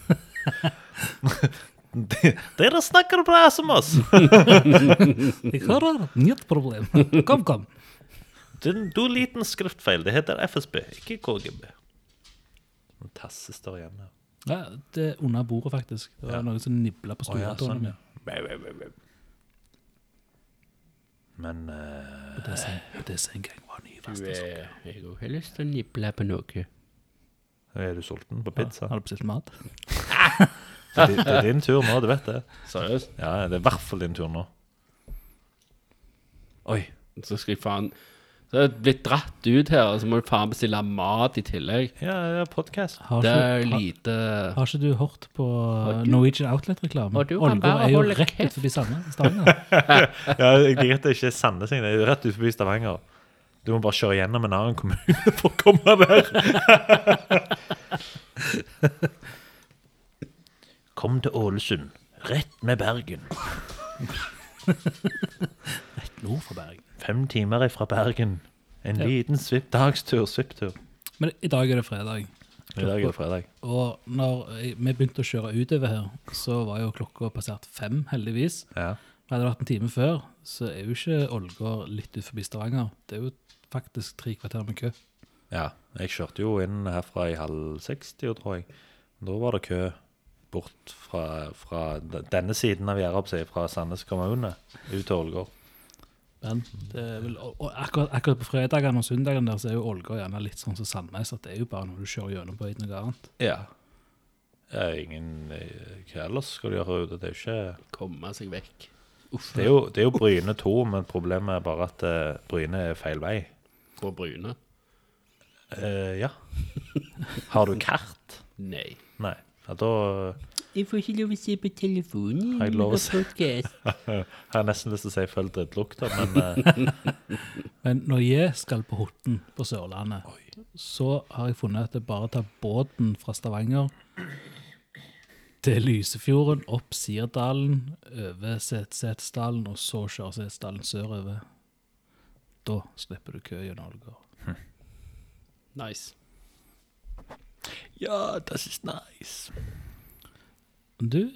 Speaker 2: De- Dere snakker bra som oss!
Speaker 1: Jeg hører. Нет problem. Kom, kom.
Speaker 2: Du, du liten skriftfeil. Det heter FSB, ikke KGB. En tasse står igjen her.
Speaker 1: Ja, det er under bordet, faktisk. Det var noen som nibla på
Speaker 2: ja,
Speaker 1: stortåen
Speaker 2: sånn,
Speaker 1: min.
Speaker 2: Men eh,
Speaker 1: Det som- Det som en gang var ny
Speaker 4: du
Speaker 1: verste
Speaker 4: er Jeg har også lyst til å niple på noe.
Speaker 2: er du sulten på pizza?
Speaker 1: Har du bestilt mat?
Speaker 2: Det, er di- det er din tur nå, du vet det.
Speaker 4: Seriøst?
Speaker 2: Ja, Det er i hvert fall din tur nå. Oi.
Speaker 4: Så skal jeg faen Så er jeg blitt dratt ut her, og så må du faen bestille mat i tillegg.
Speaker 2: Ja, ja podkast.
Speaker 1: Har
Speaker 4: Det
Speaker 1: ikke,
Speaker 4: er lite
Speaker 1: har ikke du hørt på Norwegian Outlet-reklame?
Speaker 9: Og du kan bare
Speaker 1: Ålgård er jo
Speaker 9: holde
Speaker 1: rett
Speaker 9: kjeft.
Speaker 1: ut forbi Sande-
Speaker 9: *laughs*
Speaker 1: Stavanger.
Speaker 2: Ja, jeg liker at det ikke er Sandnes, jeg. det er rett ut forbi Stavanger. Du må bare kjøre gjennom en annen kommune for å komme der. Kom til Ålesund. Rett med Bergen.
Speaker 1: Nord for Bergen.
Speaker 2: Fem timer ifra Bergen. En liten svipp, dagstur, svipptur.
Speaker 1: Men i dag er det fredag.
Speaker 2: I dag er det fredag.
Speaker 1: Og når jeg- vi begynte å kjøre utover her, så var jo klokka passert fem, heldigvis.
Speaker 2: Ja.
Speaker 1: Men hadde det vært en time før, så er jo ikke Ålgård litt ut forbi Stavanger. Det er jo faktisk tre kvarter med kø.
Speaker 2: ja. Jeg kjørte jo inn herfra i halv 60, tror jeg. Da var det kø bort fra, fra denne siden av gjerdet, oppsett, fra Sandnes kommune, ut til Ålgård.
Speaker 1: Men det er vel, og og akkurat, akkurat på fredagene og søndagene der, så er jo Ålgård gjerne litt sånn som Sandnes, at det er jo bare når du kjører gjennom på noe annet.
Speaker 2: Ja. ja ingen, eh, hva ellers skal du gjøre ute? Det er jo ikke
Speaker 4: komme seg vekk.
Speaker 2: det er jo, det er jo Bryne 2, men problemet er bare at eh, Bryne er feil vei.
Speaker 4: På Bryne?
Speaker 2: Eh, ja. Har du kart?
Speaker 4: Nei.
Speaker 2: Nei. Ja, da
Speaker 9: Jeg får ikke lov å se på telefonen.
Speaker 2: Har jeg lov å se?
Speaker 9: Podcast.
Speaker 2: har *laughs* jeg nesten lyst til å si følg drittlukta, men *laughs* eh,
Speaker 1: Men når jeg skal på Horten på Sørlandet, så har jeg funnet at det bare tar båten fra Stavanger til Lysefjorden, opp Sirdalen, over Setesdalen og så kjører Setesdalen sørover. Da slipper du kø gjennom Ålgård.
Speaker 4: Nice.
Speaker 2: Ja, das ist nice.
Speaker 1: Du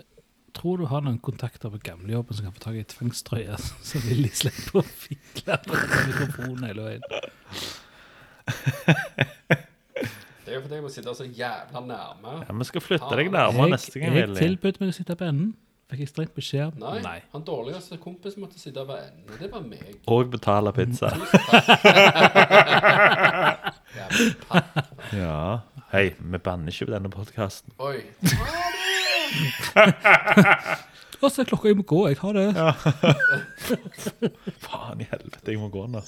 Speaker 1: tror du har noen kontakter på gamlejobben som kan få tak i tvangstrøye, *laughs* så vil de slippe å fikle med mikrofonen hele veien.
Speaker 4: Det er jo fordi jeg må sitte så jævla nærme.
Speaker 2: Ja, Vi skal flytte deg nærmere neste gang,
Speaker 1: jeg
Speaker 2: Willy.
Speaker 1: tilbød meg å sitte på enden. Fikk jeg strengt beskjed? om-
Speaker 4: Nei,
Speaker 1: Nei.
Speaker 4: han dårligste kompisen måtte sitte ved enden. og Det var meg.
Speaker 2: Og betale pizza. *laughs* ja. Hei, vi banner ikke på denne podkasten.
Speaker 4: Oi.
Speaker 1: Og så er klokka, jeg må gå. Jeg har det.
Speaker 2: Faen i helvete, jeg må gå nå.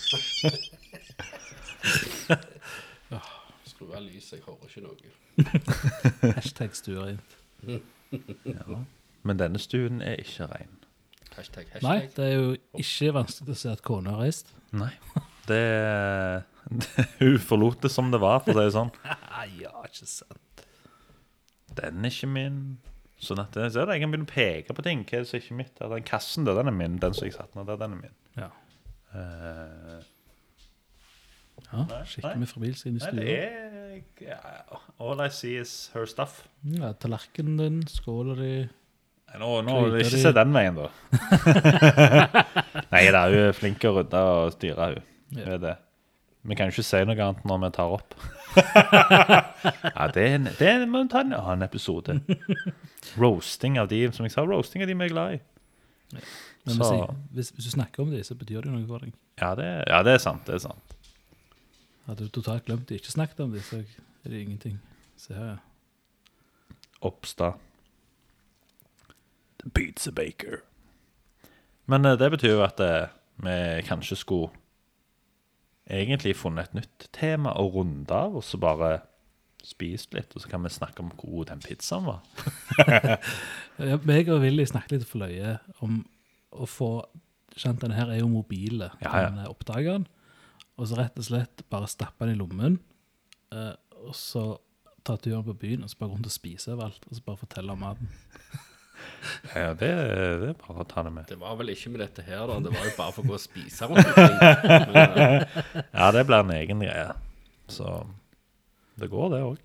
Speaker 4: Skru av lyset, jeg hører ikke noe.
Speaker 1: Hashtag stuereint.
Speaker 2: Men denne stuen er ikke rein.
Speaker 4: Hashtag,
Speaker 1: Nei,
Speaker 4: hashtag.
Speaker 1: det er jo ikke vanskelig å se at kona har
Speaker 2: *laughs*
Speaker 1: reist.
Speaker 2: Nei. Det, det Hun forlot det som det var, for å si det sånn.
Speaker 1: Ja, ikke sant.
Speaker 2: Den er ikke min. Sånn at det, så er det jeg kan begynne å peke på ting. Hva er det som ikke er mitt? Ja, Den kassen der, den er min. Den som jeg satt ned der, den er min.
Speaker 1: Ja.
Speaker 2: Eh,
Speaker 1: Ja, skikkelig med forbilse inn i
Speaker 2: nei, det
Speaker 1: stua.
Speaker 2: er ja, All I see is her stuff.
Speaker 1: Ja, tallerkenen din, skåla di
Speaker 2: Nei, Nå, nå
Speaker 1: Kryter
Speaker 2: ikke
Speaker 1: i-
Speaker 2: se den veien, da.
Speaker 1: *laughs*
Speaker 2: Nei da, hun er flink til å rydde og styre, hun. Hun
Speaker 1: Ja.
Speaker 2: er det. Vi kan jo ikke si noe annet når vi
Speaker 1: *laughs*
Speaker 2: tar opp. ja, det, er en, det er- må vi ta en annen episode. Roasting av de som jeg sa, roasting av de vi er glad i.
Speaker 1: Men hvis,
Speaker 2: Så-
Speaker 1: jeg, hvis, hvis du snakker om det, så betyr det jo noe for deg.
Speaker 2: Ja det, ja, det er sant. det er sant.
Speaker 1: Hadde du totalt glemt det, ikke snakket om det, så er det ingenting. Se her, ja.
Speaker 2: Oppstad. Pizza Baker. Men eh, det betyr jo at eh, vi kanskje skulle egentlig funnet et nytt tema å runde av, og så bare spist litt, og så kan vi snakke om hvor god den pizzaen var.
Speaker 1: Ja, Meg og Willy snakket litt for løye om å få skjønt denne her er jo mobile,
Speaker 2: Ja, ja.
Speaker 1: denne oppdageren. Og så rett og slett bare stappe den i lommen, eh, og så ta turen på byen og så bare gå rundt og spise overalt, og så bare fortelle om maten.
Speaker 2: Ja, det, det er bare å ta det med.
Speaker 4: Det var vel ikke med dette her, da. Det var jo bare for å gå og spise rundt omkring. Men, eh,
Speaker 2: Ja, det blir en egen greie. Så det går, det òg.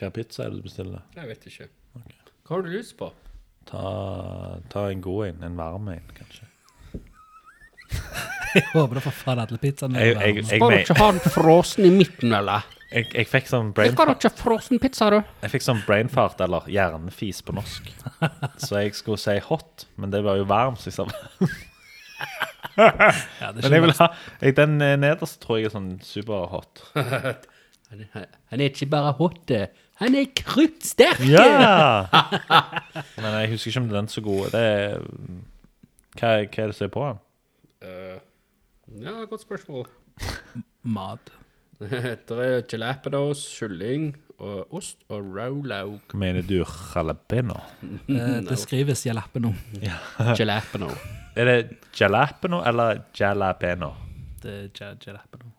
Speaker 2: Hva pizza er det du bestiller?
Speaker 4: *laughs* jeg vet ikke. Hva har du lyst på?
Speaker 2: Ta, ta en god en, en varm en, kanskje.
Speaker 1: Jeg håper det for faen alle pizzaene.
Speaker 2: Jeg,
Speaker 1: er varme.
Speaker 2: jeg, jeg,
Speaker 4: Skal du
Speaker 2: jeg,
Speaker 4: ikke ha den frossen i midten, eller?
Speaker 2: jeg, jeg fikk sånn brain
Speaker 4: Skal du ikke ha frossen pizza, du?
Speaker 2: Jeg fikk sånn brain fart, eller hjernefis på
Speaker 4: *laughs*
Speaker 2: norsk. Så jeg skulle si hot, men det var jo varm. Så jeg
Speaker 4: *laughs*
Speaker 2: sa.
Speaker 1: Ja, det
Speaker 2: Men jeg
Speaker 1: skjønner
Speaker 2: vil ha, jeg, den eh, nederst tror jeg er sånn superhot.
Speaker 4: Han er, han er ikke bare hot, det. han er kruttsterk!
Speaker 2: Ja! *laughs* Men jeg husker ikke om den er så god. Det er, hva, hva er det som er på den?
Speaker 4: Eh, Ja, godt spørsmål. *laughs*
Speaker 1: mat.
Speaker 4: Det er jalapenos, kylling og ost og rolo.
Speaker 2: Mener du jalapeno?
Speaker 1: Eh, det skrives jalapeno.
Speaker 4: Jalapeno.
Speaker 2: Er det jalapeno eller jalapeno?
Speaker 1: Det er ja- jalapeno.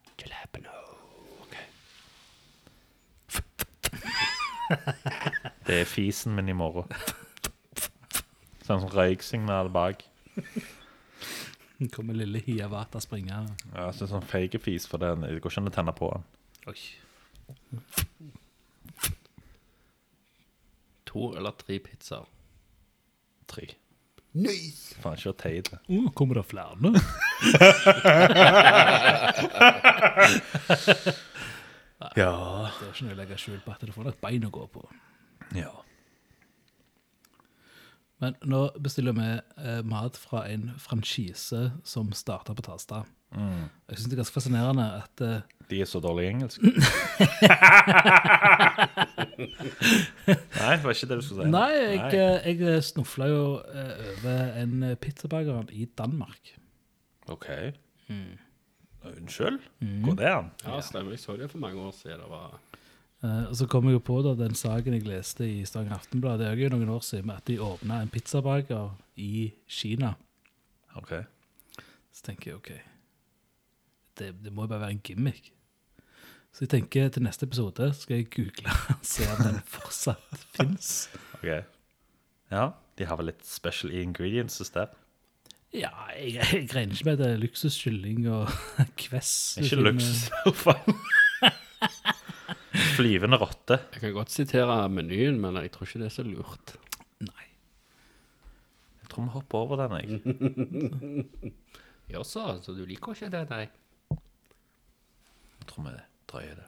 Speaker 2: Det er fisen min i morgen. Sånn som røyksignal bak.
Speaker 1: Nå kommer lille Hiawata springende.
Speaker 2: Ja, så sånn fake fis, for den, det går ikke an å tenne på den.
Speaker 4: To eller tre pizzaer.
Speaker 2: Tre. Faen, ikke vær teit.
Speaker 1: Å, kommer det flere nå?
Speaker 2: Ja.
Speaker 1: Det er ikke noe å legge skjul på at du får et bein å gå på.
Speaker 2: ja.
Speaker 1: Men nå bestiller vi eh, mat fra en franchise som starta på Tasta. Jeg syns det er ganske fascinerende at eh,
Speaker 2: De er så dårlige i *laughs* engelsk. Nei, det var ikke det du skulle si.
Speaker 1: Nei, jeg, eh, jeg snufla jo eh, over en eh, pizzabaker i Danmark.
Speaker 2: OK. Unnskyld? Går det an?
Speaker 4: Ja, stemmer. Jeg så det for mange år siden. Det var
Speaker 1: Eh, og så kom jeg jo på da, den saken jeg leste i Stavanger Aftenblad det er jo noen år siden, med at de åpna en pizzabaker i Kina.
Speaker 2: OK.
Speaker 1: Så tenker jeg OK, det, det må jo bare være en gimmick. Så jeg tenker til neste episode skal jeg google *laughs* og se om den fortsatt fins.
Speaker 2: Ok. Ja, de har vel litt special ingredients hos det.
Speaker 1: Ja, jeg, jeg regner ikke med det er luksuskylling og *laughs* kvess.
Speaker 2: Ikke luksus, i hvert fall. *laughs* Flyvende rotte.
Speaker 4: Jeg kan godt sitere menyen, men jeg tror ikke det er så lurt.
Speaker 1: Nei.
Speaker 2: Jeg tror vi hopper over den, jeg.
Speaker 4: Jaså, så du liker ikke det, nei?
Speaker 2: Jeg tror vi drøyer det.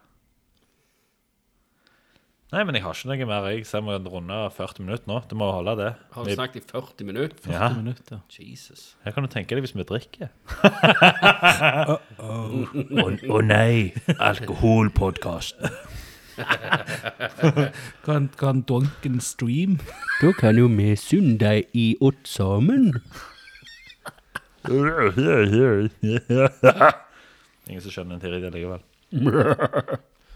Speaker 2: Nei, men jeg har ikke noe mer. Jeg ser vi runder 40 minutter nå. Du må holde det.
Speaker 4: Har vi snakket i 40 minutter?
Speaker 2: Ja,
Speaker 1: 40 minutter.
Speaker 4: Jesus.
Speaker 2: her kan du tenke deg hvis vi drikker. Å å nei, alkoholpodkast.
Speaker 1: Kan, kan Donken stream?
Speaker 5: Da kan jo vi synde i ått sammen.
Speaker 2: Ingen som skjønner en teori det likevel.
Speaker 1: Men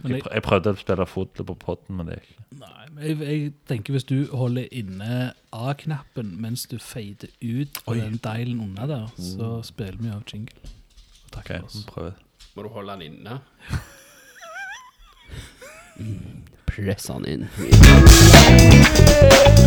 Speaker 2: Jeg,
Speaker 1: jeg-
Speaker 2: prø- jeg prøvde å spille fotball på podden, men det gikk ikke.
Speaker 1: Nei, men jeg, jeg tenker hvis du holder inne A-knappen mens du fader ut på den dialen unna der, så spiller vi av jingle. Og takk for oss.
Speaker 2: Prøv.
Speaker 4: Må du holde den inne? *laughs*
Speaker 5: Press han inn.